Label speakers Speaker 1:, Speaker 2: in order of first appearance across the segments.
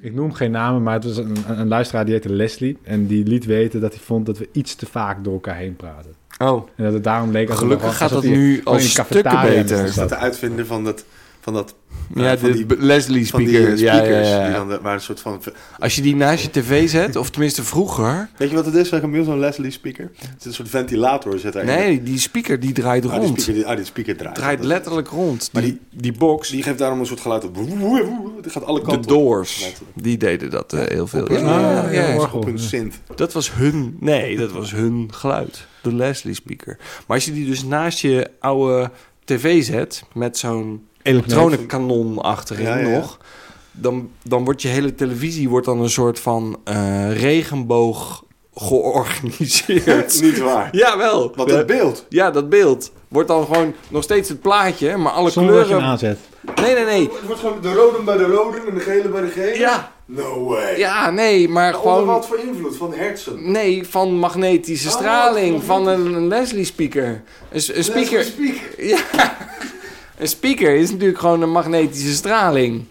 Speaker 1: Ik noem geen namen, maar het was een, een luisteraar die heette Leslie. En die liet weten dat hij vond dat we iets te vaak door elkaar heen praten.
Speaker 2: Oh,
Speaker 1: En dat het daarom leek alsof
Speaker 2: Gelukkig
Speaker 1: we-
Speaker 2: gaat
Speaker 1: alsof
Speaker 2: dat
Speaker 1: hij
Speaker 2: nu
Speaker 1: gewoon
Speaker 2: al
Speaker 1: in een
Speaker 2: stukken
Speaker 1: cafetaria
Speaker 2: beter.
Speaker 1: moest
Speaker 2: Is
Speaker 3: Is dat de
Speaker 1: zitten.
Speaker 3: uitvinden van dat, van dat
Speaker 2: ja,
Speaker 3: van
Speaker 2: de
Speaker 3: die-
Speaker 2: Leslie
Speaker 3: van die
Speaker 2: speaker.
Speaker 3: eh, speakers
Speaker 2: ja, ja, ja.
Speaker 3: die dan de- waar een soort van
Speaker 2: Als je die naast je tv zet, of tenminste vroeger.
Speaker 3: weet je wat het is van Camille zo'n Leslie speaker het is een soort ventilator zit daarin
Speaker 2: Nee, die speaker die draait
Speaker 3: Ah, die
Speaker 2: rond.
Speaker 3: speaker, die, ah, die speaker draait
Speaker 2: draait
Speaker 3: Dat-
Speaker 2: letterlijk rond.
Speaker 3: Maar
Speaker 2: Die, die, box,
Speaker 3: die geeft daarom een soort geluid op het gaat alle
Speaker 2: de
Speaker 3: kanten op.
Speaker 2: Doors,
Speaker 3: Letterlijk.
Speaker 2: die deden dat eh, heel veel. Ja,
Speaker 1: Ah,
Speaker 2: ja, ja.
Speaker 1: hoor.
Speaker 3: op een synth
Speaker 2: Dat was hun, nee, dat was hun geluid. De Leslie speaker. Maar als je die dus naast je oude tv zet, met zo'n elektronenkanon achterin
Speaker 3: Ja, ja, ja.
Speaker 2: nog... Dan, dan wordt je hele televisie wordt dan een soort van eh, regenboog georganiseerd.
Speaker 3: niet waar
Speaker 2: Jawel.
Speaker 3: want
Speaker 2: Ja.
Speaker 3: het beeld
Speaker 2: Ja, dat beeld wordt dan gewoon nog steeds het plaatje, maar alle
Speaker 1: Zonder dat je hem
Speaker 2: kleuren...
Speaker 1: aanzet.
Speaker 2: Nee, nee, nee.
Speaker 3: het wordt gewoon de rode bij de rode en de gele bij de gele
Speaker 2: Ja,
Speaker 3: no way
Speaker 2: ja, nee, maar
Speaker 3: onder
Speaker 2: gewoon...
Speaker 3: wat voor invloed van hersen
Speaker 2: Nee, van magnetische
Speaker 3: Oh,
Speaker 2: straling,
Speaker 3: wat
Speaker 2: van een, een Leslie speaker. Een, s- een speaker...
Speaker 3: Leslie speaker
Speaker 2: Ja, een speaker is natuurlijk gewoon een magnetische straling.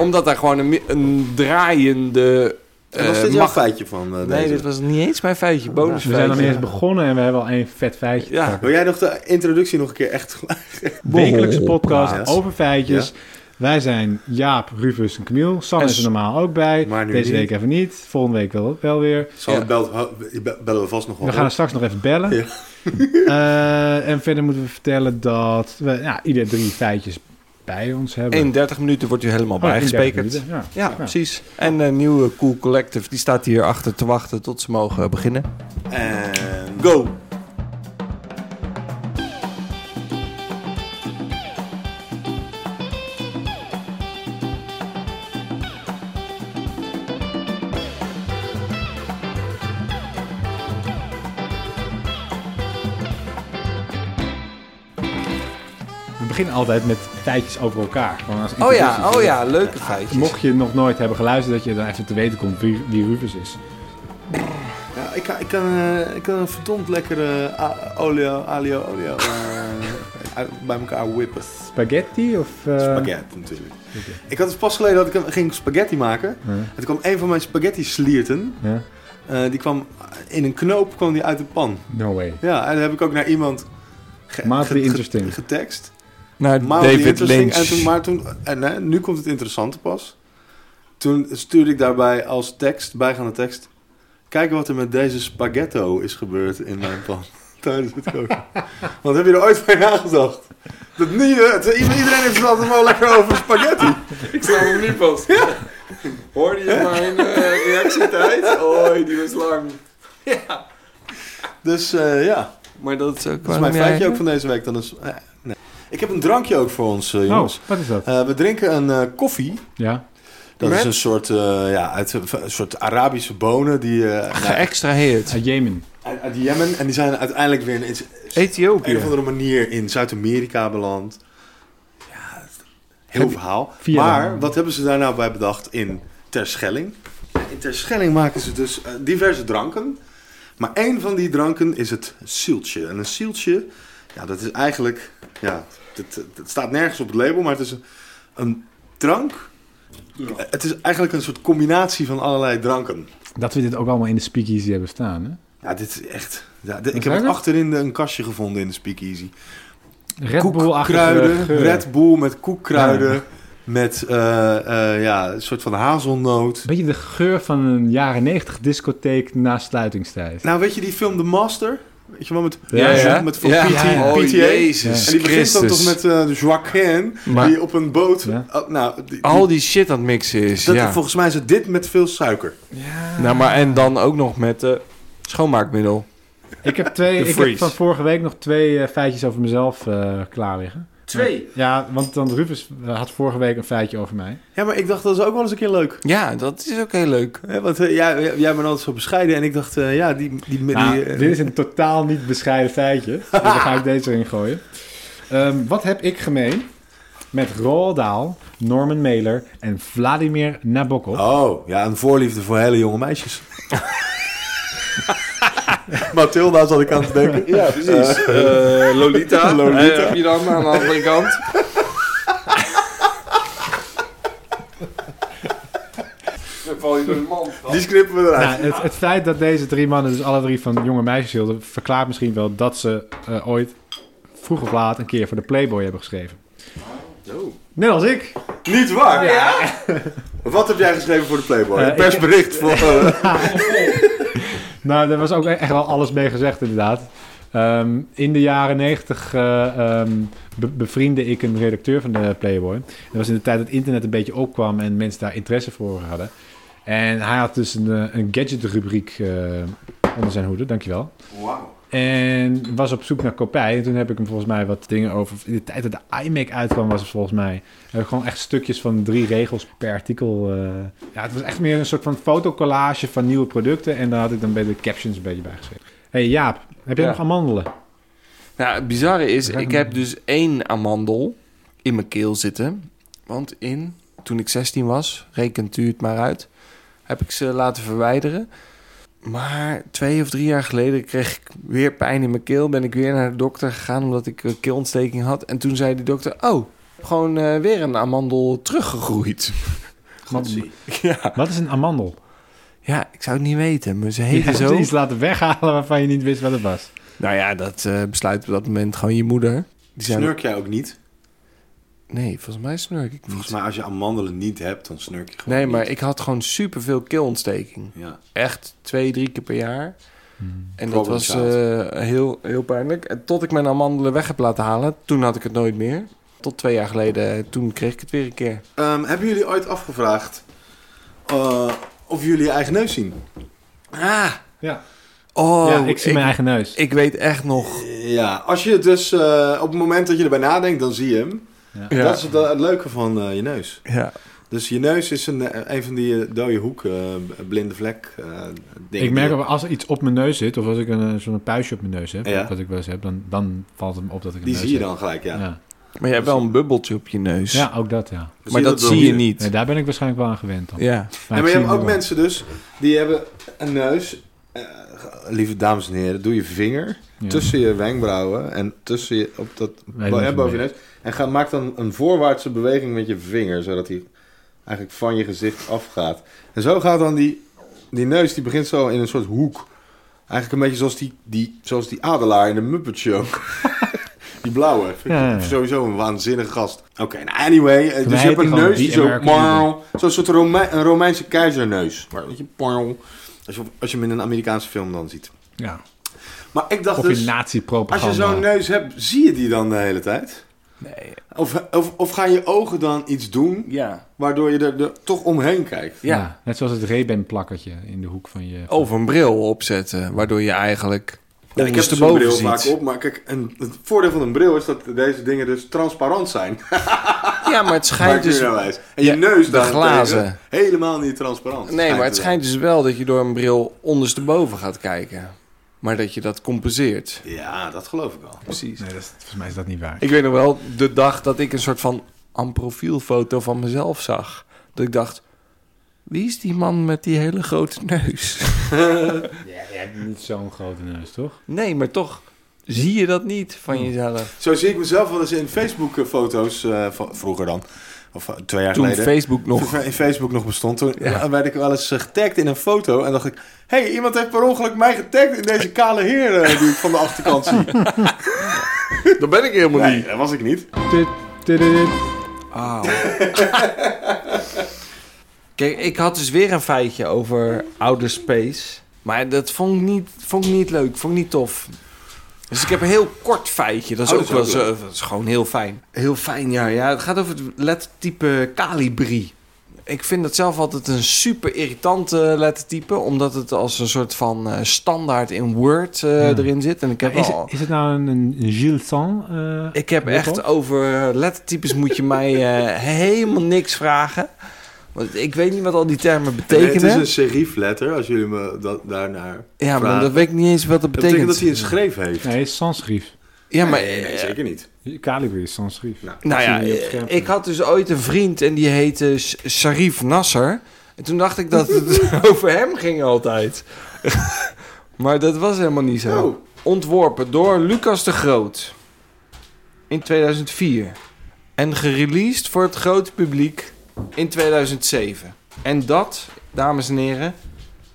Speaker 2: Omdat daar gewoon een, mi- een draaiende...
Speaker 3: en was
Speaker 2: eh,
Speaker 3: dit jouw
Speaker 2: mag-
Speaker 3: feitje van
Speaker 2: Nee,
Speaker 3: eh, deze?
Speaker 2: dit was niet eens mijn feitje, bonus
Speaker 1: We zijn nog niet eens begonnen en we hebben al één vet feitje.
Speaker 2: Ja.
Speaker 3: wil jij nog de introductie nog een keer echt
Speaker 1: Wekelijkse podcast
Speaker 3: Yes.
Speaker 1: over feitjes. Wij zijn Jaap, Rufus en Camille. Sam
Speaker 2: En
Speaker 1: is er
Speaker 2: s-
Speaker 1: normaal ook bij.
Speaker 3: Maar nu
Speaker 1: Deze
Speaker 3: niet.
Speaker 1: week even niet. Volgende week wel, wel weer.
Speaker 3: Zal
Speaker 2: Ja.
Speaker 3: het belt, be- bellen we vast nog wel.
Speaker 1: We gaan
Speaker 3: op.
Speaker 1: er straks nog even bellen.
Speaker 3: Ja.
Speaker 1: Eh, en verder moeten we vertellen dat we ja, ieder drie feitjes bij ons hebben.
Speaker 2: In 30 minuten wordt u helemaal
Speaker 1: Oh, in dertig
Speaker 2: bijgesprekerd.
Speaker 1: minuten, Ja.
Speaker 2: Ja, precies. En een nieuwe Cool Collective, die staat hier achter te wachten tot ze mogen beginnen.
Speaker 3: En...
Speaker 2: Go!
Speaker 1: We beginnen altijd met feitjes over elkaar. gewoon als
Speaker 2: Oh ja,
Speaker 1: introductie.
Speaker 2: oh ja, leuke feitjes.
Speaker 1: Mocht je nog nooit hebben geluisterd, dat je dan even te weten komt wie, wie Rufus is.
Speaker 3: Ja, ik, kan, ik, kan, eh, ik kan een verdomd lekkere a- olio, alio, olio eh, uit- bij elkaar whippen.
Speaker 1: Spaghetti of... eh,
Speaker 3: Spaghetti natuurlijk. Ik had dus pas geleden dat ik een- ging spaghetti maken. En
Speaker 1: Huh?
Speaker 3: toen kwam een van mijn spaghetti slierten.
Speaker 1: Ja?
Speaker 3: eh, die kwam in een knoop kwam die uit de pan.
Speaker 1: No way.
Speaker 3: Ja, en dat heb ik ook naar iemand ge-
Speaker 1: Maatly
Speaker 3: ge- ge-
Speaker 1: interesting.
Speaker 3: getekst.
Speaker 2: Naar
Speaker 3: Maar
Speaker 2: David Lynch.
Speaker 3: En toen, maar toen, en hè, nu komt het interessante pas. Toen stuurde ik daarbij als tekst, bijgaande tekst. Kijken wat er met deze spaghetto is gebeurd in mijn pan. Tijdens het koken. Want heb je er ooit van nagedacht? Dat nu, hè, het- iedereen heeft het altijd wel lekker over spaghetti.
Speaker 2: Ik sta hem nu pas. Hoorde je mijn eh, reactietijd? Oei, die was lang. Ja.
Speaker 3: Dus eh, ja,
Speaker 2: Maar dat is ook
Speaker 3: dat is mijn feitje ook van deze week. Dan is, eh, nee. Ik heb een drankje ook voor ons, eh,
Speaker 1: Oh,
Speaker 3: jongens.
Speaker 1: wat is dat?
Speaker 3: Eh, we drinken een eh, koffie.
Speaker 1: Ja.
Speaker 3: Dat
Speaker 2: Met?
Speaker 3: is een soort, eh, ja, uit, een soort Arabische bonen die... eh, nou,
Speaker 2: Geëxtraheerd.
Speaker 1: Uit Jemen.
Speaker 3: uit, uit Jemen. En die zijn uiteindelijk weer in op een
Speaker 2: Ethiopië.
Speaker 3: of andere manier in Zuid-Amerika beland. Ja, heel
Speaker 1: Heb-
Speaker 3: verhaal.
Speaker 1: Via-
Speaker 3: Maar wat hebben ze daar nou bij bedacht in Terschelling? In Terschelling maken ze dus eh, diverse dranken. Maar één van die dranken is het zieltje. En een zieltje, ja, dat is eigenlijk... Ja, het, het staat nergens op het label, maar het is een, een drank... Het is eigenlijk een soort combinatie van allerlei dranken.
Speaker 1: Dat we dit ook allemaal in de speakeasy hebben staan. Hè?
Speaker 3: Ja, dit is echt. Ja, dit- ik heb
Speaker 1: zijn
Speaker 3: het
Speaker 1: het?
Speaker 3: achterin de- een kastje gevonden in de speakeasy.
Speaker 1: Red Bull
Speaker 3: Koekkruiden, Red Bull met koekkruiden.
Speaker 1: Ja.
Speaker 3: Met eh, eh, ja, een soort van hazelnoot.
Speaker 1: Beetje de geur van een jaren negentig discotheek na sluitingstijd.
Speaker 3: Nou, weet je die film The Master? Weet je wel, met,
Speaker 1: Ja, ja.
Speaker 3: met van PT,
Speaker 2: Oh,
Speaker 3: PTA.
Speaker 2: Jezus
Speaker 3: En die begint dan toch
Speaker 2: Christus.
Speaker 3: met eh Joaquin,
Speaker 2: Maar-
Speaker 3: die op een boot...
Speaker 1: Ja.
Speaker 3: oh, nou, die-
Speaker 2: Al die shit aan het mixen is,
Speaker 3: dat,
Speaker 2: ja.
Speaker 3: Volgens mij is het dit met veel suiker.
Speaker 2: Nou, maar en dan ook nog met eh, schoonmaakmiddel.
Speaker 1: Ik heb, twee,
Speaker 2: De
Speaker 1: ik heb
Speaker 2: Freeze.
Speaker 1: van vorige week nog twee eh, feitjes over mezelf eh, klaar liggen.
Speaker 2: Twee?
Speaker 1: Ja, want dan Rufus eh, had vorige week een feitje over mij.
Speaker 3: Ja, maar ik dacht, dat is ook wel eens een keer leuk.
Speaker 2: Ja, dat is ook heel leuk.
Speaker 3: Hè, want eh, jij, jij bent altijd zo bescheiden. En ik dacht, eh, ja, die... die, die,
Speaker 1: Nou,
Speaker 3: eh,
Speaker 1: dit is een totaal niet bescheiden feitje. Dus daar ga ik deze erin gooien. Ehm, wat heb ik gemeen met Roald Dahl, Norman Mailer en Vladimir Nabokov?
Speaker 3: Oh, ja, een voorliefde voor hele jonge meisjes. Mathilda zat ik aan te denken. Eh, Ja,
Speaker 2: Dus,
Speaker 3: precies.
Speaker 2: eh, Lolita.
Speaker 3: Lolita.
Speaker 2: Eh, heb je dan aan de andere kant. Dan val je door de mand.
Speaker 3: Die knippen we eruit.
Speaker 1: Nou, het, het feit dat deze drie mannen dus alle drie van jonge meisjes hielden... verklaart misschien wel dat ze eh, ooit vroeg of laat een keer voor de Playboy hebben geschreven.
Speaker 2: Nou.
Speaker 3: Oh.
Speaker 1: Net als ik.
Speaker 3: Niet waar? Wat heb jij geschreven voor de Playboy?
Speaker 1: Eh,
Speaker 3: een persbericht voor... eh,
Speaker 1: Nou, daar was ook echt wel alles mee gezegd, inderdaad. Ehm, in de jaren negentig eh, ehm, bevriende ik een redacteur van de Playboy. Dat was in de tijd dat internet een beetje opkwam en mensen daar interesse voor hadden. En hij had dus een, eh, een gadget-rubriek eh, onder zijn hoede, dankjewel.
Speaker 3: Wauw.
Speaker 1: En was op zoek naar kopij. En toen heb ik hem volgens mij wat dingen over... In de tijd dat de iMac uitkwam was het volgens mij... Heb ik gewoon echt stukjes van drie regels per artikel. eh. Ja, het was echt meer een soort van fotocollage van nieuwe producten. En daar had ik dan bij de captions een beetje bij geschreven. hey Jaap, heb jij
Speaker 2: Ja.
Speaker 1: nog amandelen?
Speaker 2: Nou, het bizarre is,
Speaker 1: Ruik
Speaker 2: ik
Speaker 1: hem.
Speaker 2: heb dus één amandel in mijn keel zitten. Want in, toen ik 16 was, rekent u het maar uit, heb ik ze laten verwijderen. Maar twee of drie jaar geleden kreeg ik weer pijn in mijn keel. Ben ik weer naar de dokter gegaan omdat ik eh, keelontsteking had. En toen zei die dokter, oh, gewoon eh, weer een amandel teruggegroeid.
Speaker 1: Wat,
Speaker 2: ja.
Speaker 1: wat is een amandel?
Speaker 2: ja, ik zou het niet weten, maar ze
Speaker 1: Je
Speaker 2: heten
Speaker 1: hebt
Speaker 2: zo.
Speaker 1: iets laten weghalen waarvan je niet wist wat het was.
Speaker 2: Nou ja, dat eh, besluit op dat moment gewoon je moeder. Die zei,
Speaker 3: Snurk jij ook niet?
Speaker 2: nee, volgens mij snurk ik niet.
Speaker 3: Volgens mij als je amandelen niet hebt, dan snurk je gewoon
Speaker 2: Nee, maar
Speaker 3: niet.
Speaker 2: ik had gewoon superveel keelontsteking.
Speaker 3: Ja.
Speaker 2: Echt twee, drie keer per jaar.
Speaker 1: Hmm.
Speaker 2: En dat
Speaker 3: Problem
Speaker 2: was
Speaker 3: child.
Speaker 2: eh, heel, heel pijnlijk. En tot ik mijn amandelen weg heb laten halen, toen had ik het nooit meer. Tot twee jaar geleden, eh, toen kreeg ik het weer een keer.
Speaker 3: Ehm, hebben jullie ooit afgevraagd eh, of jullie je eigen neus zien?
Speaker 2: Ah!
Speaker 1: Ja,
Speaker 2: Oh,
Speaker 1: ja ik zie mijn eigen neus.
Speaker 2: Ik weet echt nog...
Speaker 3: Ja, als je het dus eh, op het moment dat je erbij nadenkt, dan zie je hem.
Speaker 2: Ja,
Speaker 3: Dat is het, eh, het leuke van eh, je neus.
Speaker 2: ja.
Speaker 3: Dus je neus is een, eh, een van die eh, dode hoeken, eh, blinde vlek eh, dingen.
Speaker 1: ik merk ook als er iets op mijn neus zit, of als ik een, eh, zo'n puistje op mijn neus heb,
Speaker 3: Ja.
Speaker 1: wat ik wel eens heb, dan, dan valt het me op dat ik een
Speaker 3: Die
Speaker 1: neus
Speaker 3: zie je
Speaker 1: heb.
Speaker 3: dan gelijk, ja.
Speaker 1: Ja.
Speaker 2: Maar je hebt wel een bubbeltje op je neus.
Speaker 1: ja, ook dat, ja.
Speaker 3: We
Speaker 2: maar
Speaker 3: zien
Speaker 2: dat
Speaker 3: wel
Speaker 2: zie je
Speaker 3: hier.
Speaker 2: niet.
Speaker 1: Nee, daar ben ik waarschijnlijk wel aan gewend dan.
Speaker 2: Ja.
Speaker 3: Nee, maar je
Speaker 1: ik
Speaker 3: hebt
Speaker 1: zie
Speaker 3: ook
Speaker 1: hem wel.
Speaker 3: mensen dus, die hebben een neus. eh, lieve dames en heren, doe je vinger
Speaker 1: Ja.
Speaker 3: tussen je wenkbrauwen en tussen je, op dat,
Speaker 1: Nee,
Speaker 3: bo-
Speaker 1: dat is
Speaker 3: en boven je
Speaker 1: niet.
Speaker 3: neus. En ga, maak dan een voorwaartse beweging met je vinger, zodat hij eigenlijk van je gezicht afgaat. En zo gaat dan die, die neus, die begint zo in een soort hoek. Eigenlijk een beetje zoals die, die, zoals die adelaar in de Muppet Show. die blauwe. Vind ik
Speaker 1: Ja, ja, ja.
Speaker 3: Sowieso een waanzinnige gast. Oké, nou anyway. eh, Dus
Speaker 1: mij
Speaker 3: je hebt
Speaker 1: heet
Speaker 3: een
Speaker 1: hij gewoon
Speaker 3: neus die
Speaker 1: The
Speaker 3: zo...
Speaker 1: American Eagle.
Speaker 3: Zo'n soort Rome- een Romeinse keizerneus. Maar weet je, porl. als je, als je hem in een Amerikaanse film dan ziet.
Speaker 1: Ja.
Speaker 3: Maar ik dacht
Speaker 1: Of
Speaker 3: dus,
Speaker 1: in
Speaker 3: als
Speaker 1: nazi-propaganda.
Speaker 3: je zo'n eh,
Speaker 2: eh,
Speaker 3: neus hebt, zie je die dan de hele tijd?
Speaker 2: Nee.
Speaker 3: Of, of, of gaan je ogen dan iets doen
Speaker 2: Ja.
Speaker 3: waardoor je er, er toch omheen kijkt?
Speaker 2: Ja. Oh.
Speaker 1: Net zoals het Reben plakketje in de hoek van je...
Speaker 2: Of een bril opzetten, waardoor je eigenlijk
Speaker 3: Ja, ik heb dus een
Speaker 2: ondersteboven
Speaker 3: bril
Speaker 2: ziet.
Speaker 3: vaak op, maar kijk, een, het voordeel van een bril is dat deze dingen dus transparant zijn.
Speaker 2: Ja, maar het
Speaker 3: Maak
Speaker 2: schijnt
Speaker 3: je
Speaker 2: dus...
Speaker 3: nou wijs. En je
Speaker 2: Ja,
Speaker 3: neus
Speaker 2: de
Speaker 3: daarentegen
Speaker 2: glazen.
Speaker 3: helemaal niet transparant.
Speaker 2: Nee, maar het
Speaker 3: te
Speaker 2: schijnt dus wel dat je door een bril ondersteboven gaat kijken. Maar dat je dat compenseert.
Speaker 3: zijn. Ja, dat geloof ik al.
Speaker 2: Precies.
Speaker 1: Nee, dat is, volgens mij is dat niet waar.
Speaker 2: Ik weet nog wel de dag dat ik een soort van amprofielfoto van mezelf zag. Dat ik dacht, wie is die man met die hele grote neus?
Speaker 1: Ja, jij hebt niet zo'n grote neus, toch?
Speaker 2: Nee, maar toch Hmm. zie je dat niet van jezelf.
Speaker 3: Zo zie ik mezelf wel eens in Facebook-foto's eh, van vroeger dan. Of eh, twee jaar
Speaker 2: Toen
Speaker 3: geleden.
Speaker 2: Facebook nog...
Speaker 3: Toen in Facebook nog bestond. Toen
Speaker 2: Ja.
Speaker 3: werd ik wel eens eh, getagd in een foto. En dacht ik, hé, hey, iemand heeft per ongeluk mij getagd in deze kale heer eh, die ik van de achterkant zie.
Speaker 2: Dat ben ik helemaal
Speaker 3: Nee, dat was ik niet.
Speaker 1: Dit, dit, dit, dit.
Speaker 2: Auw. Oh. Kijk, ik had dus weer een feitje over outer space. Maar dat vond ik niet, vond ik niet leuk, vond ik niet tof. Dus ik heb een heel kort feitje. Dat is
Speaker 3: Oh,
Speaker 2: ook
Speaker 3: dat
Speaker 2: wel
Speaker 3: is ook
Speaker 2: zo. Dat is gewoon heel fijn. Heel fijn, ja. ja. Het gaat over het lettertype Calibri. Ik vind dat zelf altijd een super irritante lettertype. Omdat het als een soort van eh, standaard in Word eh,
Speaker 1: Ja.
Speaker 2: erin zit. En ik heb
Speaker 1: Is,
Speaker 2: al...
Speaker 1: is het nou een, een Gilles Saint? eh,
Speaker 2: Ik heb
Speaker 1: Weet
Speaker 2: echt
Speaker 1: wel.
Speaker 2: over lettertypes moet je mij eh, helemaal niks vragen. Want ik weet niet wat al die termen
Speaker 3: het
Speaker 2: betekenen.
Speaker 3: is een serifletter, als jullie me dat, daarnaar
Speaker 2: ja, maar
Speaker 3: vragen.
Speaker 2: dat weet ik niet eens wat dat
Speaker 3: Dat betekent
Speaker 2: betekent.
Speaker 3: dat hij een schreef heeft.
Speaker 1: Nee, is sans schrift.
Speaker 2: Ja, maar...
Speaker 3: nee, nee,
Speaker 2: eh,
Speaker 3: zeker niet.
Speaker 1: Calibri is sans schrift.
Speaker 3: Nou,
Speaker 2: nou ja,
Speaker 1: Zie je niet op
Speaker 2: eh,
Speaker 1: scherm.
Speaker 2: ik had dus ooit een vriend en die heette S- Sharif Nasser. En toen dacht ik dat het over hem ging altijd. maar dat was helemaal niet zo.
Speaker 3: Oh.
Speaker 2: Ontworpen door Lucas de Groot. In 2004. En gereleased voor het grote publiek in 2007. En dat, dames en heren,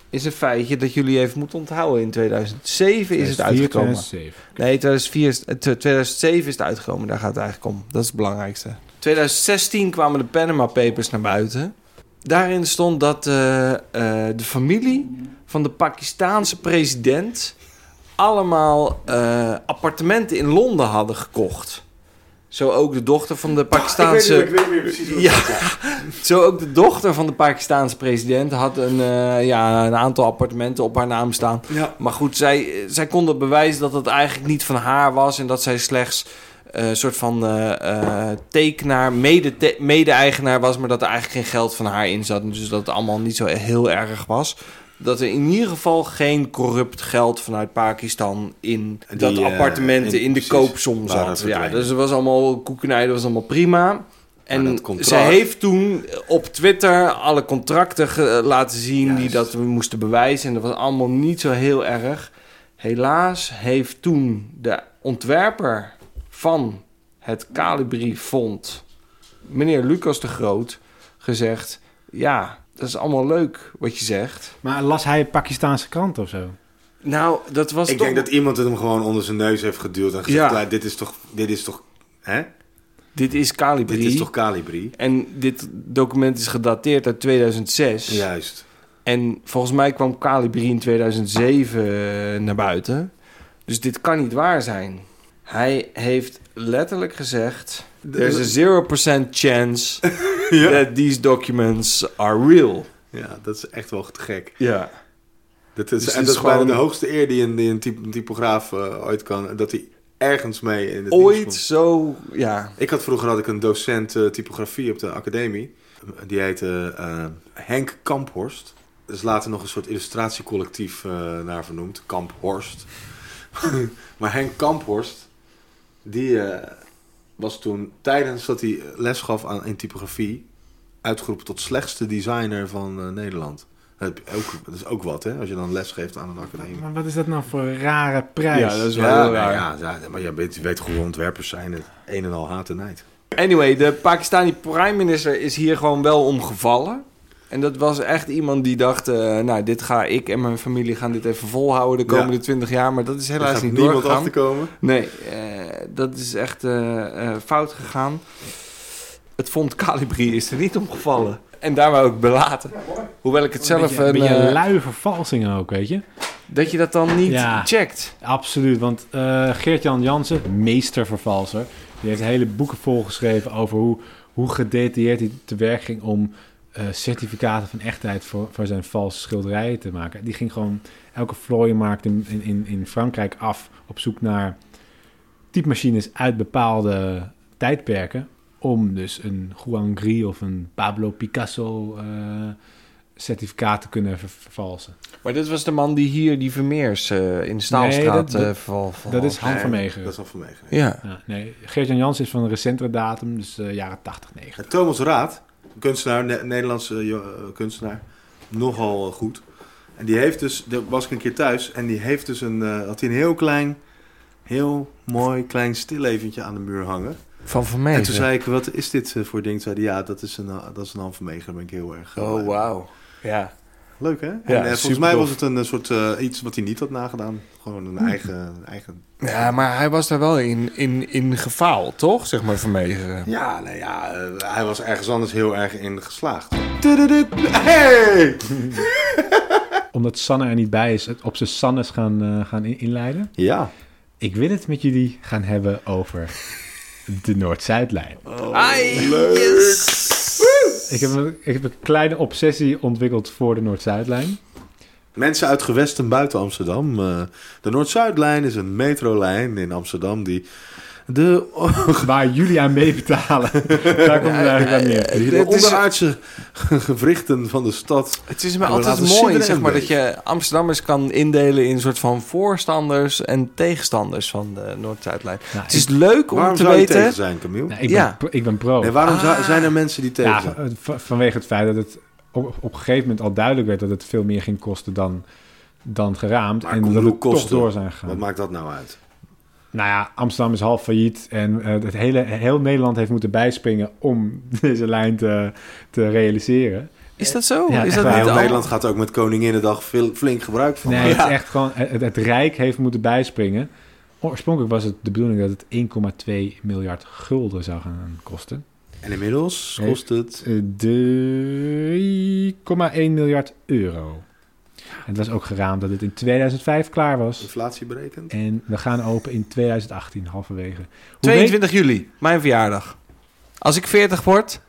Speaker 2: is een feitje dat jullie even moeten onthouden. In 2007 is het uitgekomen.
Speaker 1: 2007.
Speaker 2: Nee, 2004 is, eh, tw- 2007 is het uitgekomen. Daar gaat het eigenlijk om. Dat is het belangrijkste. 2016 kwamen de Panama Papers naar buiten. Daarin stond dat eh, eh, de familie van de Pakistaanse president allemaal eh, appartementen in Londen hadden gekocht. Zo ook de dochter van de Pakistaanse.
Speaker 3: Ah, Ik weet, niet meer precies
Speaker 2: Ja. Zo ook de dochter van de Pakistaanse president had een, eh, ja, een aantal appartementen op haar naam staan.
Speaker 3: ja.
Speaker 2: Maar goed, zij, zij konden bewijzen dat het eigenlijk niet van haar was. En dat zij slechts eh, een soort van eh, eh, tekenaar, mede- te- mede-eigenaar was. Maar dat er eigenlijk geen geld van haar in zat. Dus dat het allemaal niet zo heel erg was. Dat er in ieder geval geen corrupt geld vanuit Pakistan in
Speaker 3: Die,
Speaker 2: dat
Speaker 3: eh,
Speaker 2: appartementen in,
Speaker 3: in-
Speaker 2: de
Speaker 3: precies,
Speaker 2: koopsom
Speaker 3: waren
Speaker 2: zat. Ja,
Speaker 3: verdwenen.
Speaker 2: dus het was allemaal koekenij, dat was allemaal prima.
Speaker 3: Maar
Speaker 2: En
Speaker 3: dat contract-
Speaker 2: ze heeft toen eh, op Twitter alle contracten ge- eh, laten zien die
Speaker 3: Juist.
Speaker 2: dat we moesten bewijzen. En dat was allemaal niet zo heel erg. Helaas heeft toen de ontwerper van het Calibri Fond, meneer Lucas de Groot, gezegd... Ja, dat is allemaal leuk wat je zegt.
Speaker 1: Maar las hij Pakistaanse krant of zo?
Speaker 2: Nou, dat was
Speaker 3: Ik
Speaker 2: toch...
Speaker 3: denk dat iemand het hem gewoon onder zijn neus heeft geduwd en gezegd:
Speaker 2: Ja.
Speaker 3: "Ja, dit is toch, dit is toch, hè?
Speaker 2: Dit is Calibri.
Speaker 3: Dit is toch Calibri?
Speaker 2: En dit document is gedateerd uit 2006.
Speaker 3: Juist.
Speaker 2: En volgens mij kwam Calibri in 2007 naar buiten. Dus dit kan niet waar zijn. Hij heeft letterlijk gezegd... There's a 0% chance
Speaker 3: Ja.
Speaker 2: that these documents are real.
Speaker 3: ja, dat is echt wel te gek.
Speaker 2: Ja.
Speaker 3: Dat is,
Speaker 2: Dus
Speaker 3: en
Speaker 2: het
Speaker 3: dat
Speaker 2: is
Speaker 3: is bijna
Speaker 2: gewoon-
Speaker 3: de hoogste eer die een, die een typ- een typograaf eh, ooit kan. Dat hij ergens mee in het nieuws
Speaker 2: Ooit
Speaker 3: komt.
Speaker 2: zo... Ja.
Speaker 3: Ik had vroeger had ik een docent eh, typografie op de academie. Die heette eh, Henk Kamphorst. Er is later nog een soort illustratiecollectief eh, naar vernoemd. Kamphorst. maar Henk Kamphorst, die eh, was toen tijdens dat hij les gaf aan, in typografie... uitgeroepen tot slechtste designer van eh, Nederland. Dat, heb je ook, dat is ook wat, hè? Als je dan les geeft aan een academie.
Speaker 1: Maar wat is dat nou voor een rare prijs?
Speaker 2: Ja, dat is wel
Speaker 3: Ja,
Speaker 2: heel
Speaker 3: nee,
Speaker 2: raar.
Speaker 3: ja, ja, maar je weet, je weet gewoon, ontwerpers zijn het een en al haat en nijd.
Speaker 2: Anyway, de Pakistani prime minister is hier gewoon wel omgevallen. En dat was echt iemand die dacht... eh, nou, dit ga ik en mijn familie gaan dit even volhouden de
Speaker 3: Ja.
Speaker 2: komende 20 jaar. Maar dat is
Speaker 3: Daar
Speaker 2: helaas
Speaker 3: gaat
Speaker 2: niet
Speaker 3: niemand
Speaker 2: doorgegaan.
Speaker 3: achterkomen.
Speaker 2: Nee, eh, dat is echt eh, eh, fout gegaan. Het vond Calibri is er niet omgevallen. En daar wou ik belaten. Hoewel ik het zelf...
Speaker 1: Zelf een
Speaker 2: een,
Speaker 1: beetje
Speaker 2: eh,
Speaker 1: lui vervalsingen ook, weet je?
Speaker 2: dat je dat dan niet
Speaker 1: Ja.
Speaker 2: checkt.
Speaker 1: Absoluut, want eh Geert-Jan Jansen, meestervervalser, die heeft hele boeken volgeschreven over hoe, hoe gedetailleerd hij te werk ging om eh, certificaten van echtheid voor, voor zijn valse schilderijen te maken. Die ging gewoon elke vlooienmarkt in, in- in, in Frankrijk af op zoek naar typemachines uit bepaalde tijdperken om dus een Juan Gris of een Pablo Picasso eh, certificaat te kunnen ver- vervalsen.
Speaker 2: Maar dit was de man die hier die Vermeers eh, in de Staalstraat
Speaker 1: dat- dat-
Speaker 2: eh, verval.
Speaker 1: Dat is Han
Speaker 3: Nee,
Speaker 1: van Meegeren.
Speaker 3: Dat is al van Meegeren.
Speaker 2: Ja.
Speaker 1: Ja, nee, Geert-Jan Jans is van een recentere datum, dus eh, jaren 80, 90.
Speaker 3: En Thomas Raad, kunstenaar, Ne- Nederlandse eh, jo- eh, kunstenaar, nogal eh, goed. En die heeft dus, daar was ik een keer thuis, en die heeft dus een, eh, had hij een heel klein, heel mooi klein stilleventje aan de muur hangen.
Speaker 2: Van
Speaker 3: En toen
Speaker 2: Vermeers.
Speaker 3: zei ik, wat is dit eh, voor ding? Zei hij, ja, dat is een, eh, dat is een half meger, daar ben ik heel erg. eh, blij
Speaker 2: Oh,
Speaker 3: mee.
Speaker 2: wauw. Ja.
Speaker 3: Leuk, hè? en, eh, volgens
Speaker 2: supertof.
Speaker 3: mij was het een eh, soort, eh, iets wat hij niet had nagedaan. Gewoon een eigen, eigen...
Speaker 2: ja, maar hij was daar wel in, in, in gefaald, toch? Zeg maar Vermeers.
Speaker 3: Ja, nou ja, eh, hij was ergens anders heel erg in geslaagd.
Speaker 2: eh.
Speaker 3: Tududu. Hey!
Speaker 1: Omdat Sanne er niet bij is, het op zijn Sannes gaan, eh, gaan in- inleiden.
Speaker 3: Ja.
Speaker 1: Ik wil het met jullie gaan hebben over de Noord-Zuidlijn.
Speaker 2: Ai,
Speaker 1: Ik heb, een, ik heb een kleine obsessie ontwikkeld voor de Noord-Zuidlijn.
Speaker 3: Mensen uit gewesten buiten Amsterdam. eh, de Noord-Zuidlijn is een metrolijn in Amsterdam die de,
Speaker 1: Waar jullie aan mee betalen. Daar komt het eigenlijk aan neer.
Speaker 3: die de
Speaker 2: het is-
Speaker 3: onderaardse ge- gewrichten van de stad.
Speaker 2: Het is me
Speaker 3: En we
Speaker 2: altijd
Speaker 3: laten
Speaker 2: mooi,
Speaker 3: Sideren
Speaker 2: zeg
Speaker 3: en
Speaker 2: maar, dat
Speaker 3: Beek.
Speaker 2: je Amsterdammers kan indelen in een soort van voorstanders en tegenstanders van de Noord-Zuidlijn.
Speaker 1: Nou,
Speaker 2: Het is leuk om
Speaker 3: waarom
Speaker 2: te
Speaker 3: zou je tegen
Speaker 2: weten.
Speaker 3: zijn, Camille?
Speaker 1: Nou, ik,
Speaker 2: Ja.
Speaker 1: ben, pro- ik ben pro.
Speaker 3: En waarom zou-
Speaker 2: Ah.
Speaker 3: zijn er mensen die tegen
Speaker 1: Ja,
Speaker 3: zijn?
Speaker 1: van- vanwege het feit dat het op, op een gegeven moment al duidelijk werd dat het veel meer ging kosten dan, dan geraamd.
Speaker 3: Maar
Speaker 1: en
Speaker 3: kom,
Speaker 1: dat
Speaker 3: hoe
Speaker 1: we toch
Speaker 3: kosten?
Speaker 1: door zijn gegaan.
Speaker 3: Wat maakt dat nou uit?
Speaker 1: Nou ja, Amsterdam is half failliet en eh, het hele, heel Nederland heeft moeten bijspringen om deze lijn te, te realiseren.
Speaker 2: Is dat zo?
Speaker 1: Ja,
Speaker 2: is
Speaker 1: echt
Speaker 2: dat
Speaker 1: waar.
Speaker 2: niet
Speaker 3: Heel
Speaker 2: al?
Speaker 3: Nederland gaat ook met Koninginnedag veel, flink gebruik van.
Speaker 1: Nee,
Speaker 3: maken.
Speaker 1: het is echt gewoon... Het, het Rijk heeft moeten bijspringen. Oorspronkelijk was het de bedoeling dat het 1,2 miljard gulden zou gaan kosten.
Speaker 3: En inmiddels
Speaker 1: Nee.
Speaker 3: kost het...
Speaker 1: Eh, 3,1 miljard euro. En het was ook geraamd dat het in 2005 klaar was.
Speaker 3: Inflatie berekend.
Speaker 1: En we gaan open in 2018, halverwege. Hoe weet-
Speaker 2: 22 juli, mijn verjaardag. Als ik 40 word,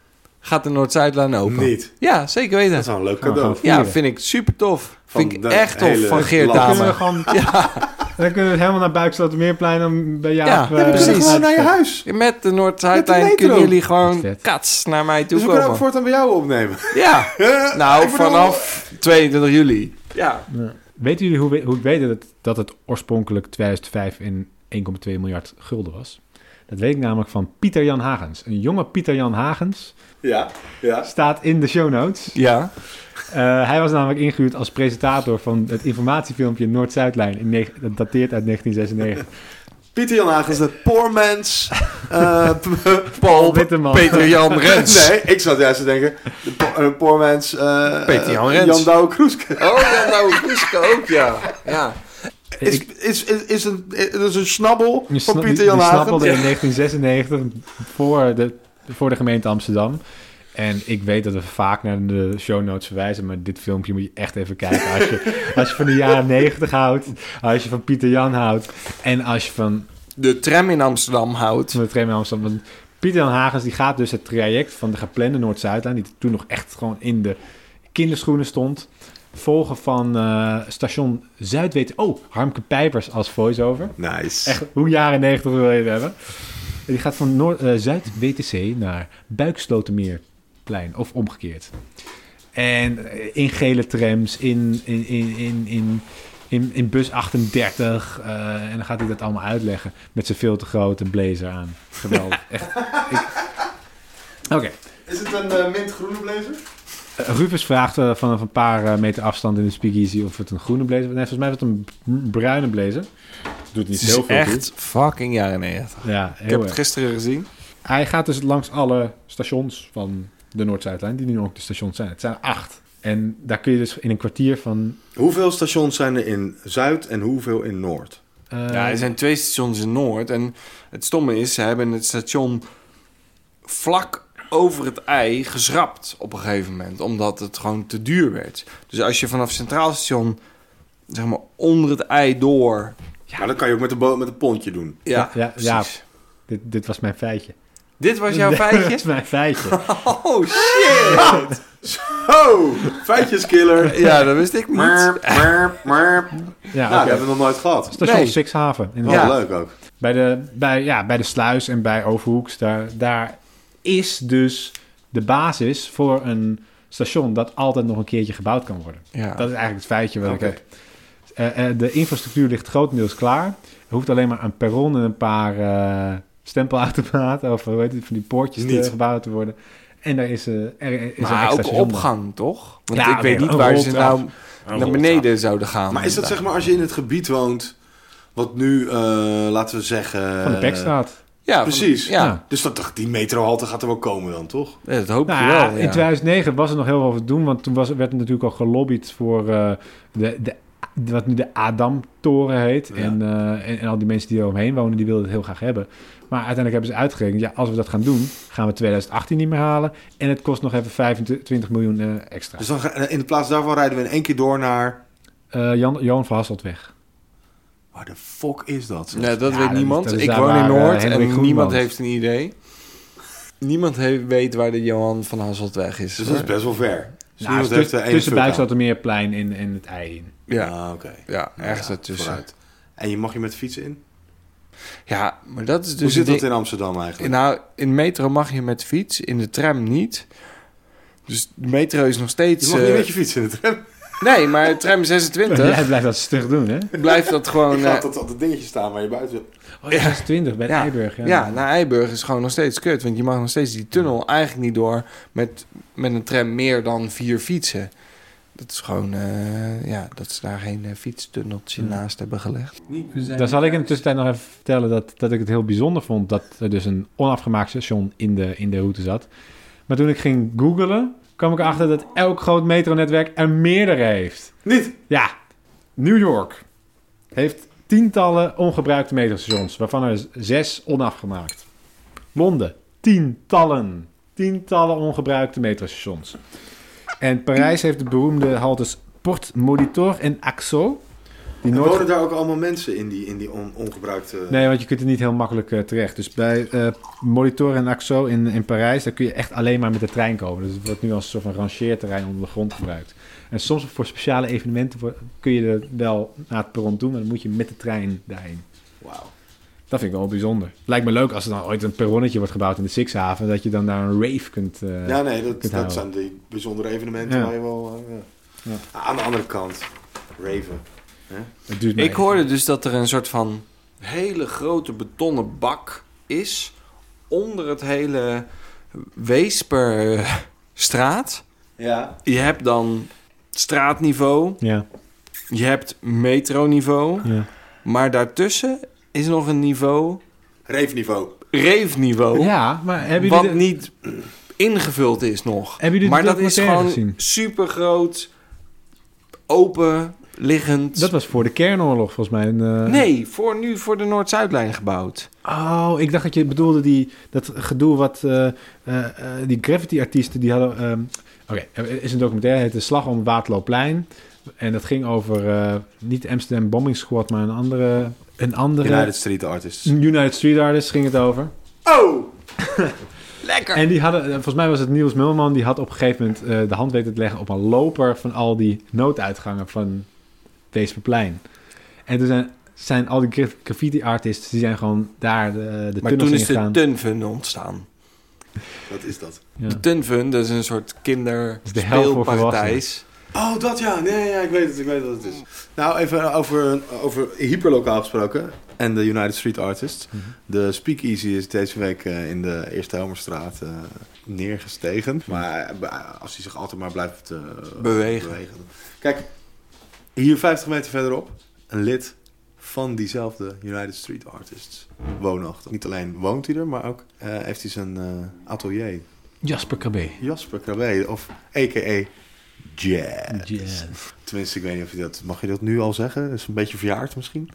Speaker 2: gaat de Noord-Zuidlaan open.
Speaker 3: Niet.
Speaker 2: Ja, zeker
Speaker 3: Dat
Speaker 2: weten.
Speaker 3: is wel een leuk
Speaker 1: Gaan we
Speaker 3: cadeau.
Speaker 1: gaan
Speaker 2: Ja,
Speaker 1: vieren.
Speaker 2: vind ik super tof.
Speaker 3: Van
Speaker 2: Vind ik
Speaker 3: de
Speaker 2: echt tof
Speaker 3: hele
Speaker 2: van Geert
Speaker 3: land.
Speaker 1: Dan kunnen we
Speaker 2: Dame.
Speaker 1: gewoon... Dan kunnen we helemaal naar Buikslotermeerplein om bij jou... eh,
Speaker 2: Ja, we kunnen
Speaker 3: We kunnen
Speaker 2: Precies.
Speaker 3: gewoon naar je huis.
Speaker 2: Met de
Speaker 3: Met
Speaker 2: Noord-Zuidlijn
Speaker 3: de
Speaker 2: kunnen
Speaker 3: metro.
Speaker 2: jullie gewoon
Speaker 1: Vet.
Speaker 2: kats naar mij toe
Speaker 3: Dus we kunnen ook
Speaker 2: komen.
Speaker 3: voortaan bij jou opnemen.
Speaker 2: Ja, nou
Speaker 3: Ik bedoel-
Speaker 2: vanaf 22 juli. Ja.
Speaker 1: Weten jullie hoe, we- hoe ik weet dat het, dat het oorspronkelijk 2005 in 1,2 miljard gulden was? Dat weet ik namelijk van Pieter Jan Hagens. Een jonge Pieter Jan Hagens
Speaker 3: Ja, ja.
Speaker 1: staat in de show notes.
Speaker 2: Ja.
Speaker 1: Eh, hij was namelijk ingehuurd als presentator van het informatiefilmpje Noord-Zuidlijn. In negen- dat dateert uit 1996.
Speaker 3: Pieter Jan Hagens, de poor man's... eh,
Speaker 2: Paul,
Speaker 1: Witteman.
Speaker 2: Peter Jan Rens.
Speaker 3: nee, ik zat juist te denken... De po- eh, poor man's... eh,
Speaker 2: Peter Jan
Speaker 3: eh,
Speaker 2: Rens.
Speaker 3: Jan Douwe Kroeske.
Speaker 2: Oh ja, nou Kuske ook, ja. Ja,
Speaker 3: Is,
Speaker 1: Ik-
Speaker 3: is, is, is een, is een snabbel
Speaker 1: die
Speaker 3: van
Speaker 1: sna-
Speaker 3: Pieter
Speaker 1: die-
Speaker 3: Jan
Speaker 1: die
Speaker 3: Hagens.
Speaker 1: snappelde in 1996 voor de, voor de gemeente Amsterdam. En ik weet dat we vaak naar de show notes verwijzen, maar dit filmpje moet je echt even kijken. Als je, als je van de jaren 90 houdt, als je van Pieter Jan houdt en als je van
Speaker 2: De tram in Amsterdam houdt.
Speaker 1: van de tram in Amsterdam. Want Pieter Jan Hagens die gaat dus het traject van de geplande Noord-Zuidlijn, die toen nog echt gewoon in de kinderschoenen stond, volgen van eh, station Zuidweten. Oh, Harmke Pijpers als voice-over.
Speaker 3: Nice.
Speaker 1: Echt, hoe jaren 90 wil je het hebben? En die gaat van Noord, eh, Zuid-WTC naar Buikslotermeerplein of omgekeerd. En eh, in gele trams, in, in, in, in, in, in, in bus 38. eh, en dan gaat hij dat allemaal uitleggen met zijn veel te grote blazer aan. Geweldig. Echt. Ik- Oké.
Speaker 3: Is het een eh, mintgroene blazer?
Speaker 1: Eh, Rufus vraagt eh, vanaf een paar eh, meter afstand in de speakeasy of het een groene blazer was. Nee, volgens mij was het een b- bruine blazer. Doet niet
Speaker 2: Het
Speaker 1: heel
Speaker 2: is
Speaker 1: veel
Speaker 2: echt fucking jaren 90.
Speaker 1: toe. Ja, heel
Speaker 2: Ik heb
Speaker 1: erg.
Speaker 2: het gisteren gezien.
Speaker 1: Hij gaat dus langs alle stations van de Noord-Zuidlijn, die nu ook de stations zijn. Het zijn er acht. En daar kun je dus in een kwartier van...
Speaker 3: Hoeveel stations zijn er in Zuid en hoeveel in Noord?
Speaker 1: eh,
Speaker 2: Ja, er zijn twee stations in Noord. En het stomme is, ze hebben het station vlak over het ei geschrapt op een gegeven moment. Omdat het gewoon te duur werd. Dus als je vanaf Centraal Station, zeg maar onder het ei door...
Speaker 3: Maar dat kan je ook met de boot met een pontje doen.
Speaker 2: Ja,
Speaker 1: Ja, ja,
Speaker 2: precies.
Speaker 1: dit, dit was mijn feitje.
Speaker 2: Dit was jouw
Speaker 1: Dit was
Speaker 2: feitje?
Speaker 1: mijn feitje.
Speaker 2: Oh, shit!
Speaker 3: Oh, feitjeskiller.
Speaker 2: Ja, dat wist ik niet.
Speaker 3: Maar, maar, maar.
Speaker 1: Ja,
Speaker 3: Nou, dat
Speaker 1: oké.
Speaker 3: hebben we nog nooit gehad.
Speaker 1: Station
Speaker 2: Nee.
Speaker 1: Sixhaven.
Speaker 3: Wel
Speaker 1: inderdaad.
Speaker 3: leuk ook.
Speaker 1: Bij, de, bij, ja, bij de Sluis en bij Overhoeks, daar, daar is dus de basis voor een station dat altijd nog een keertje gebouwd kan worden.
Speaker 2: Ja.
Speaker 1: Dat is eigenlijk het feitje wat
Speaker 3: Oké.
Speaker 1: ik heb. Eh, eh, de infrastructuur ligt grotendeels klaar. Er hoeft alleen maar een perron en een paar eh, stempelautomaten of hoe heet het, van die poortjes te
Speaker 3: Niet.
Speaker 1: gebouwd te worden. En daar is, eh er, er is een
Speaker 2: Maar
Speaker 1: extra
Speaker 2: ook
Speaker 1: station
Speaker 2: opgang, toch? Want
Speaker 1: Ja,
Speaker 2: ik weet
Speaker 1: oké,
Speaker 2: niet
Speaker 1: een
Speaker 2: waar ze
Speaker 1: roltrap.
Speaker 2: nou naar beneden zouden gaan.
Speaker 3: Maar is dat zeg maar als je in het gebied woont, wat nu, eh, laten we zeggen...
Speaker 1: Van
Speaker 2: eh,
Speaker 1: de Bekstraat.
Speaker 2: Ja, van-
Speaker 3: Precies.
Speaker 2: ja,
Speaker 1: Ja.
Speaker 3: Dus dat, die metrohalte gaat er wel komen dan, toch?
Speaker 2: Ja, dat hoop
Speaker 1: Nou,
Speaker 2: ik
Speaker 1: ja,
Speaker 2: wel.
Speaker 1: in
Speaker 2: ja.
Speaker 1: 2009 was er nog heel veel over te doen, want toen was, werd er natuurlijk al gelobbyd voor eh, de, de, wat nu de Adam-toren heet.
Speaker 3: Ja.
Speaker 1: En, eh, en, en al die mensen die er omheen wonen, die wilden het heel graag hebben. Maar uiteindelijk hebben ze uitgerekend, ja, als we dat gaan doen, gaan we 2018 niet meer halen. En het kost nog even 25 miljoen eh, extra.
Speaker 3: Dus dan, ga- in de plaats daarvan rijden we in één keer door naar...
Speaker 1: Eh, Jan, Johan van Hasseltweg.
Speaker 3: Waar de fuck is dat?
Speaker 2: Nee, dat
Speaker 1: Ja,
Speaker 2: weet
Speaker 1: dat is-
Speaker 2: niemand.
Speaker 1: dat is
Speaker 2: ik
Speaker 1: daar
Speaker 2: woon in
Speaker 1: waar, eh,
Speaker 2: Noord
Speaker 1: Hendrik
Speaker 2: en
Speaker 1: Groen
Speaker 2: niemand
Speaker 1: woont.
Speaker 2: heeft een idee. Niemand heeft, weet waar de Johan van Hasseltweg is.
Speaker 3: Dus dat is
Speaker 2: hoor.
Speaker 3: best wel ver. Dus
Speaker 1: Nou,
Speaker 3: niemand
Speaker 1: tu-
Speaker 3: heeft de ene
Speaker 1: tussen
Speaker 3: fuck aan.
Speaker 1: Buikslotermeerplein en, en het ei in.
Speaker 2: ja,
Speaker 3: Ah, oké.
Speaker 2: ja, ergens
Speaker 3: Ja,
Speaker 2: ertussen.
Speaker 3: vooruit. En je mag je met fietsen in?
Speaker 2: Ja, maar dat is dus...
Speaker 3: Hoe zit
Speaker 2: het
Speaker 3: dat in Amsterdam
Speaker 2: ding-
Speaker 3: eigenlijk?
Speaker 2: Nou, in de metro mag je met fiets, in de tram niet. Dus de metro is nog
Speaker 3: Je
Speaker 2: steeds...
Speaker 3: mag niet
Speaker 2: eh,
Speaker 3: met je fiets in de tram.
Speaker 2: Nee, maar tram 26
Speaker 1: Jij blijft dat stug doen, hè?
Speaker 2: blijft dat gewoon...
Speaker 3: Je gaat
Speaker 2: eh,
Speaker 3: tot dat dingetje staan waar je buiten wil.
Speaker 1: Oh, ja, 20 bij
Speaker 2: Ja.
Speaker 1: Eiburg. Ja.
Speaker 2: Ja, naar Eiburg is gewoon nog steeds kut. Want je mag nog steeds die tunnel eigenlijk niet door met, met een tram meer dan vier fietsen. Dat is gewoon, eh, ja, dat ze daar geen eh, fietstunneltje
Speaker 1: Ja.
Speaker 2: naast hebben gelegd.
Speaker 1: Dan zal ik in de tussentijd nog even vertellen dat, dat ik het heel bijzonder vond dat er dus een onafgemaakt station in de, in de route zat. Maar toen ik ging googlen, kwam ik erachter dat elk groot metronetwerk er meerdere heeft.
Speaker 3: Niet.
Speaker 1: Ja, New York heeft tientallen ongebruikte metrostations, waarvan er z- zes onafgemaakt. Londen, tientallen. Tientallen ongebruikte metrostations. En Parijs heeft de beroemde haltes Port Molitor en Axo. Die
Speaker 3: En
Speaker 1: nooit
Speaker 3: wonen daar ook allemaal mensen in die, in die on- ongebruikte...
Speaker 2: Eh,
Speaker 1: Nee, want je kunt er niet heel makkelijk eh, terecht. Dus bij eh Molitor en Axo in, in Parijs, daar kun je echt alleen maar met de trein komen. Dus het wordt nu als een soort van rangeerterrein onder de grond gebruikt. En soms voor speciale evenementen voor- kun je er wel naar het perron doen, maar dan moet je met de trein daarheen.
Speaker 3: Wauw.
Speaker 1: Dat vind ik wel bijzonder. Lijkt me leuk als er dan ooit een perronnetje wordt gebouwd in de Sixhaven, dat je dan daar een rave kunt... eh,
Speaker 3: Ja, nee, dat,
Speaker 1: kunt
Speaker 3: dat
Speaker 1: houden.
Speaker 3: zijn die bijzondere evenementen
Speaker 1: Ja.
Speaker 3: waar je wel... eh, ja.
Speaker 1: Ja.
Speaker 3: Aan de andere kant, Raven.
Speaker 1: het duurt maar
Speaker 2: Ik
Speaker 1: even.
Speaker 2: hoorde dus dat er een soort van hele grote betonnen bak is onder het hele Weesperstraat.
Speaker 3: Ja.
Speaker 2: Je hebt dan straatniveau,
Speaker 1: Ja,
Speaker 2: je hebt metroniveau,
Speaker 1: ja.
Speaker 2: maar daartussen is nog een niveau
Speaker 3: Reefniveau.
Speaker 2: reefniveau,
Speaker 1: ja, maar hebben
Speaker 2: wat
Speaker 1: jullie... de-
Speaker 2: niet ingevuld is nog.
Speaker 1: Hebben jullie
Speaker 2: Maar
Speaker 1: de
Speaker 2: dat is
Speaker 1: documentaire
Speaker 2: gewoon
Speaker 1: gezien?
Speaker 2: super groot, open, liggend.
Speaker 1: Dat was voor de kernoorlog volgens mij. Een, eh,
Speaker 2: Nee, voor nu voor de Noord-Zuidlijn gebouwd.
Speaker 1: Oh, ik dacht dat je bedoelde die, dat gedoe wat eh, eh, eh, die graffiti-artiesten die hadden. ehm, Oké, er is een documentaire, het heet De Slag om het Waterloopplein. En dat ging over eh, niet de Amsterdam Bombing Squad, maar een andere. Een andere
Speaker 3: United Street Artists.
Speaker 1: United Street Artists ging het over.
Speaker 3: Oh!
Speaker 2: Lekker!
Speaker 1: En die hadden, eh, volgens mij was het Niels Mulman, die had op een gegeven moment eh, de hand weten te leggen op een loper van al die nooduitgangen van Weesperplein. En toen zijn, zijn al die graf- graffiti-artists, die zijn gewoon daar eh, de, de
Speaker 2: maar
Speaker 1: tunnels
Speaker 2: toen
Speaker 1: in
Speaker 2: is de
Speaker 1: gegaan.
Speaker 2: Tunfun ontstaan.
Speaker 3: Wat is dat?
Speaker 1: Ja.
Speaker 2: De Tunfun, dat is een soort
Speaker 1: is de hel voor
Speaker 2: kinderspeelparadijs.
Speaker 3: Oh, dat ja. Nee, ja, ik weet het. Ik weet wat het is. Nou, even over, over hyperlokaal gesproken. En de United Street Artists.
Speaker 1: Mhm.
Speaker 3: De Speakeasy is deze week eh, in de Eerste Helmerstraat eh, neergestegen. Maar eh, als hij zich altijd maar blijft eh,
Speaker 2: Bewegen.
Speaker 3: Kijk, hier 50 meter verderop. Een lid van diezelfde United Street Artists woonachtig. Niet alleen woont hij er, maar ook eh, heeft hij zijn eh, atelier.
Speaker 1: Jasper KB.
Speaker 3: Jasper Krabbe, of a.k.a. Jazz.
Speaker 1: Jazz.
Speaker 3: Tenminste, ik weet niet of je dat... Mag je dat nu al zeggen? Is een beetje verjaard misschien?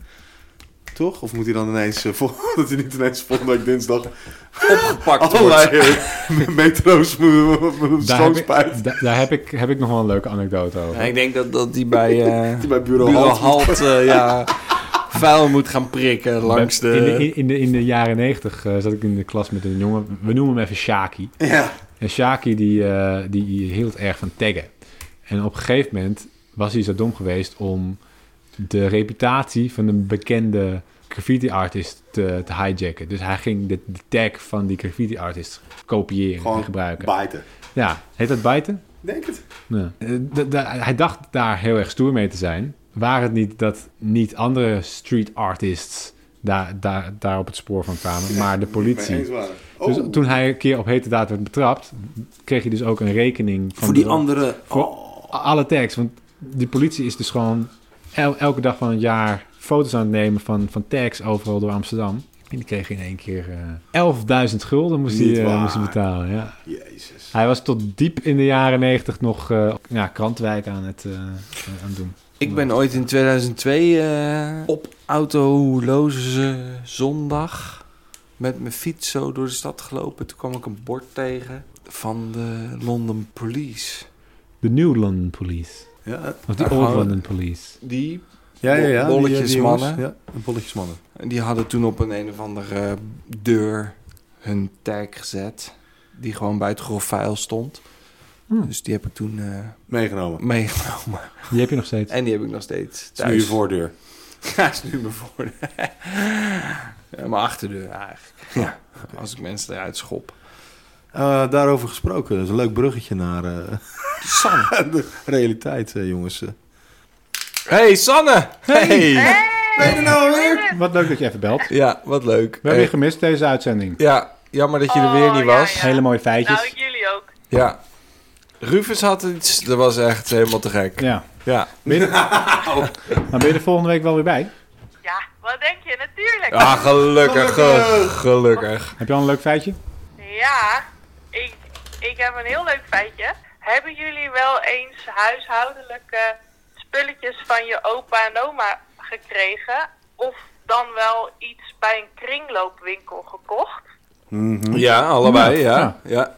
Speaker 3: Toch? Of moet hij dan ineens... eh, vol- dat hij niet ineens volgende week dinsdag...
Speaker 2: Opgepakt
Speaker 1: Oh,
Speaker 2: wordt.
Speaker 3: allerlei eh, metro's moet moet-
Speaker 1: Daar, heb ik,
Speaker 3: schoonspijt.
Speaker 1: da- daar heb, ik, heb ik nog wel een leuke anekdote over.
Speaker 2: Ja, ik denk dat, dat die bij, eh
Speaker 3: Die bij bureau,
Speaker 2: Bureau
Speaker 3: Halt-
Speaker 2: Halt eh, ja, vuil moet gaan prikken langs
Speaker 1: In de,
Speaker 2: de...
Speaker 1: in, in de, in de jaren negentig eh, zat ik in de klas met een jongen. We noemen hem even Shaki.
Speaker 3: Ja.
Speaker 1: En Shaki die, eh, die hield erg van taggen. En op een gegeven moment was hij zo dom geweest om de reputatie van een bekende graffiti-artist te, te hijacken. Dus hij ging de, de tag van die graffiti-artist kopiëren
Speaker 3: Gewoon
Speaker 1: en gebruiken.
Speaker 3: Bijten.
Speaker 1: ja, heet dat bijten?
Speaker 3: Denk het.
Speaker 1: Ja. Eh, d- d- hij dacht daar heel erg stoer mee te zijn. Waar het niet dat niet andere street artists daar, daar, daar op het spoor van kwamen, maar de
Speaker 3: Mee eens
Speaker 1: politie.
Speaker 3: waren. Oh,
Speaker 1: Dus toen hij een keer op hete daad werd betrapt, kreeg hij dus ook een rekening van
Speaker 2: Voor die
Speaker 1: de-
Speaker 2: andere...
Speaker 1: voor
Speaker 3: Oh.
Speaker 1: alle tags. Want die politie is dus gewoon el- elke dag van het jaar foto's aan het nemen van, van tags overal door Amsterdam. En die kreeg in één keer eh 11.000 gulden moest hij,
Speaker 3: Niet
Speaker 1: eh, moest hij
Speaker 3: waar.
Speaker 1: betalen. Ja.
Speaker 3: Jezus.
Speaker 1: Hij was tot diep in de jaren 90 nog eh ja, krantwijk aan het, eh, aan het doen.
Speaker 2: Ik ben ooit in 2002 eh op autoloze zondag met mijn fiets zo door de stad gelopen. Toen kwam ik een bord tegen van de London Police.
Speaker 1: De New London Police.
Speaker 3: Ja,
Speaker 1: Of de
Speaker 2: Ja,
Speaker 1: Old
Speaker 2: gewoon-
Speaker 1: London Police.
Speaker 2: Die,
Speaker 3: ja, ja. ja.
Speaker 2: Bolletjes
Speaker 3: die, eh, die jongens.
Speaker 2: mannen.
Speaker 3: Ja, bolletjes mannen.
Speaker 2: die hadden toen op een een of andere deur hun tag gezet. Die gewoon bij het grof vuil stond.
Speaker 1: Hm.
Speaker 2: Dus die heb ik toen eh,
Speaker 3: Meegenomen.
Speaker 2: meegenomen.
Speaker 1: Die heb je nog steeds.
Speaker 2: En die heb ik nog steeds
Speaker 3: Het is nu je
Speaker 2: thuis.
Speaker 3: voordeur.
Speaker 2: Ja, is nu mijn voordeur. ja, mijn achterdeur eigenlijk. Ja, als ik mensen eruit schop.
Speaker 3: Eh, daarover gesproken, dat is een leuk bruggetje naar eh,
Speaker 2: Sanne.
Speaker 3: de realiteit, eh, jongens.
Speaker 2: Hey, Sanne! Hey!
Speaker 3: Ben je er nou weer?
Speaker 1: Wat leuk dat je even belt. We
Speaker 2: Ja, wat leuk.
Speaker 1: hebben je
Speaker 2: Hey.
Speaker 1: gemist deze uitzending.
Speaker 2: Ja, jammer dat je er
Speaker 4: Oh,
Speaker 2: weer niet
Speaker 4: ja,
Speaker 2: was. Ja.
Speaker 4: ja.
Speaker 1: Hele mooie feitjes.
Speaker 4: Nou, ik jullie ook.
Speaker 2: Rufus had iets, dat was echt helemaal te gek.
Speaker 1: Ja.
Speaker 2: Ja.
Speaker 1: Ben je, maar ben je er volgende week wel weer bij?
Speaker 4: Ja, wat denk je? Natuurlijk.
Speaker 2: Ah, gelukkig, ge-
Speaker 3: Gelukkig.
Speaker 2: gelukkig.
Speaker 1: Heb je al een leuk feitje?
Speaker 4: Ja, ik, ik heb een heel leuk feitje. Hebben jullie wel eens huishoudelijke spulletjes van je opa en oma gekregen? Of dan wel iets bij een kringloopwinkel gekocht?
Speaker 2: Ja, allebei,
Speaker 1: Ja,
Speaker 2: ja. ja.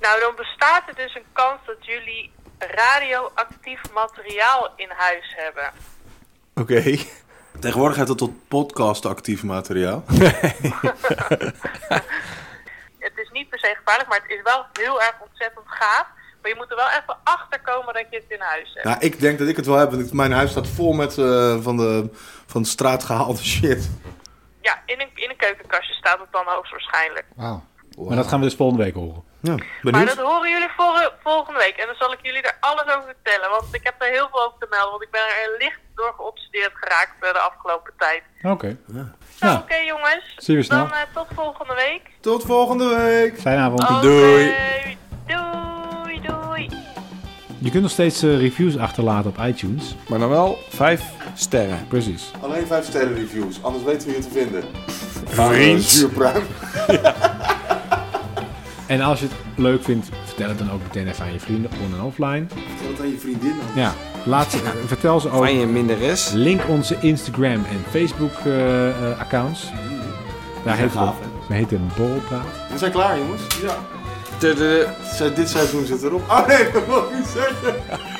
Speaker 4: Nou, dan bestaat er dus een kans dat jullie radioactief materiaal in huis hebben.
Speaker 2: Oké.
Speaker 3: Tegenwoordig heet dat tot podcastactief materiaal.
Speaker 4: Het is niet per se gevaarlijk, maar het is wel heel erg ontzettend gaaf. Maar je moet er wel even achter komen dat je het in huis hebt.
Speaker 3: Nou, ik denk dat ik het wel heb. want ik- Mijn huis staat vol met eh, van, de, van de straat gehaalde shit.
Speaker 4: Ja, in een, in een keukenkastje staat het dan hoogstwaarschijnlijk.
Speaker 1: Wauw. Maar dat gaan we dus volgende week horen.
Speaker 3: Ja,
Speaker 4: Maar
Speaker 3: benieuwd?
Speaker 4: dat horen jullie vor- volgende week. En dan zal ik jullie er alles over vertellen. Want ik heb er heel veel over te melden. Want ik ben er licht door geobsedeerd geraakt eh, de afgelopen tijd.
Speaker 1: Oké.
Speaker 4: Nou,
Speaker 1: Ja.
Speaker 4: oké jongens.
Speaker 1: Zie je snel.
Speaker 4: Dan eh, tot volgende week.
Speaker 3: Tot volgende week!
Speaker 1: Fijne avond.
Speaker 4: Oh.
Speaker 2: Doei.
Speaker 4: Oké, Doei, doei.
Speaker 1: Je kunt nog steeds eh, reviews achterlaten op iTunes.
Speaker 2: Maar dan wel vijf sterren.
Speaker 1: Precies.
Speaker 3: Alleen 5 sterren reviews, anders weten we je te vinden. Eh,
Speaker 2: Vriend.
Speaker 3: Zuurpruim.
Speaker 1: En als je het leuk vindt, vertel het dan ook meteen even aan je vrienden on- en offline.
Speaker 3: Vertel het aan je vriendin dan.
Speaker 1: Ja, laat ze, eh, vertel ze ook.
Speaker 2: Van je minderes.
Speaker 1: Link onze Instagram en Facebook eh, eh, accounts. Daar heet
Speaker 3: gaaf,
Speaker 1: het, we heten Borrelpraat.
Speaker 3: We zijn klaar, jongens. Ja.
Speaker 2: Tudu.
Speaker 3: Dit seizoen zit erop. Oh nee, dat wil ik niet zeggen.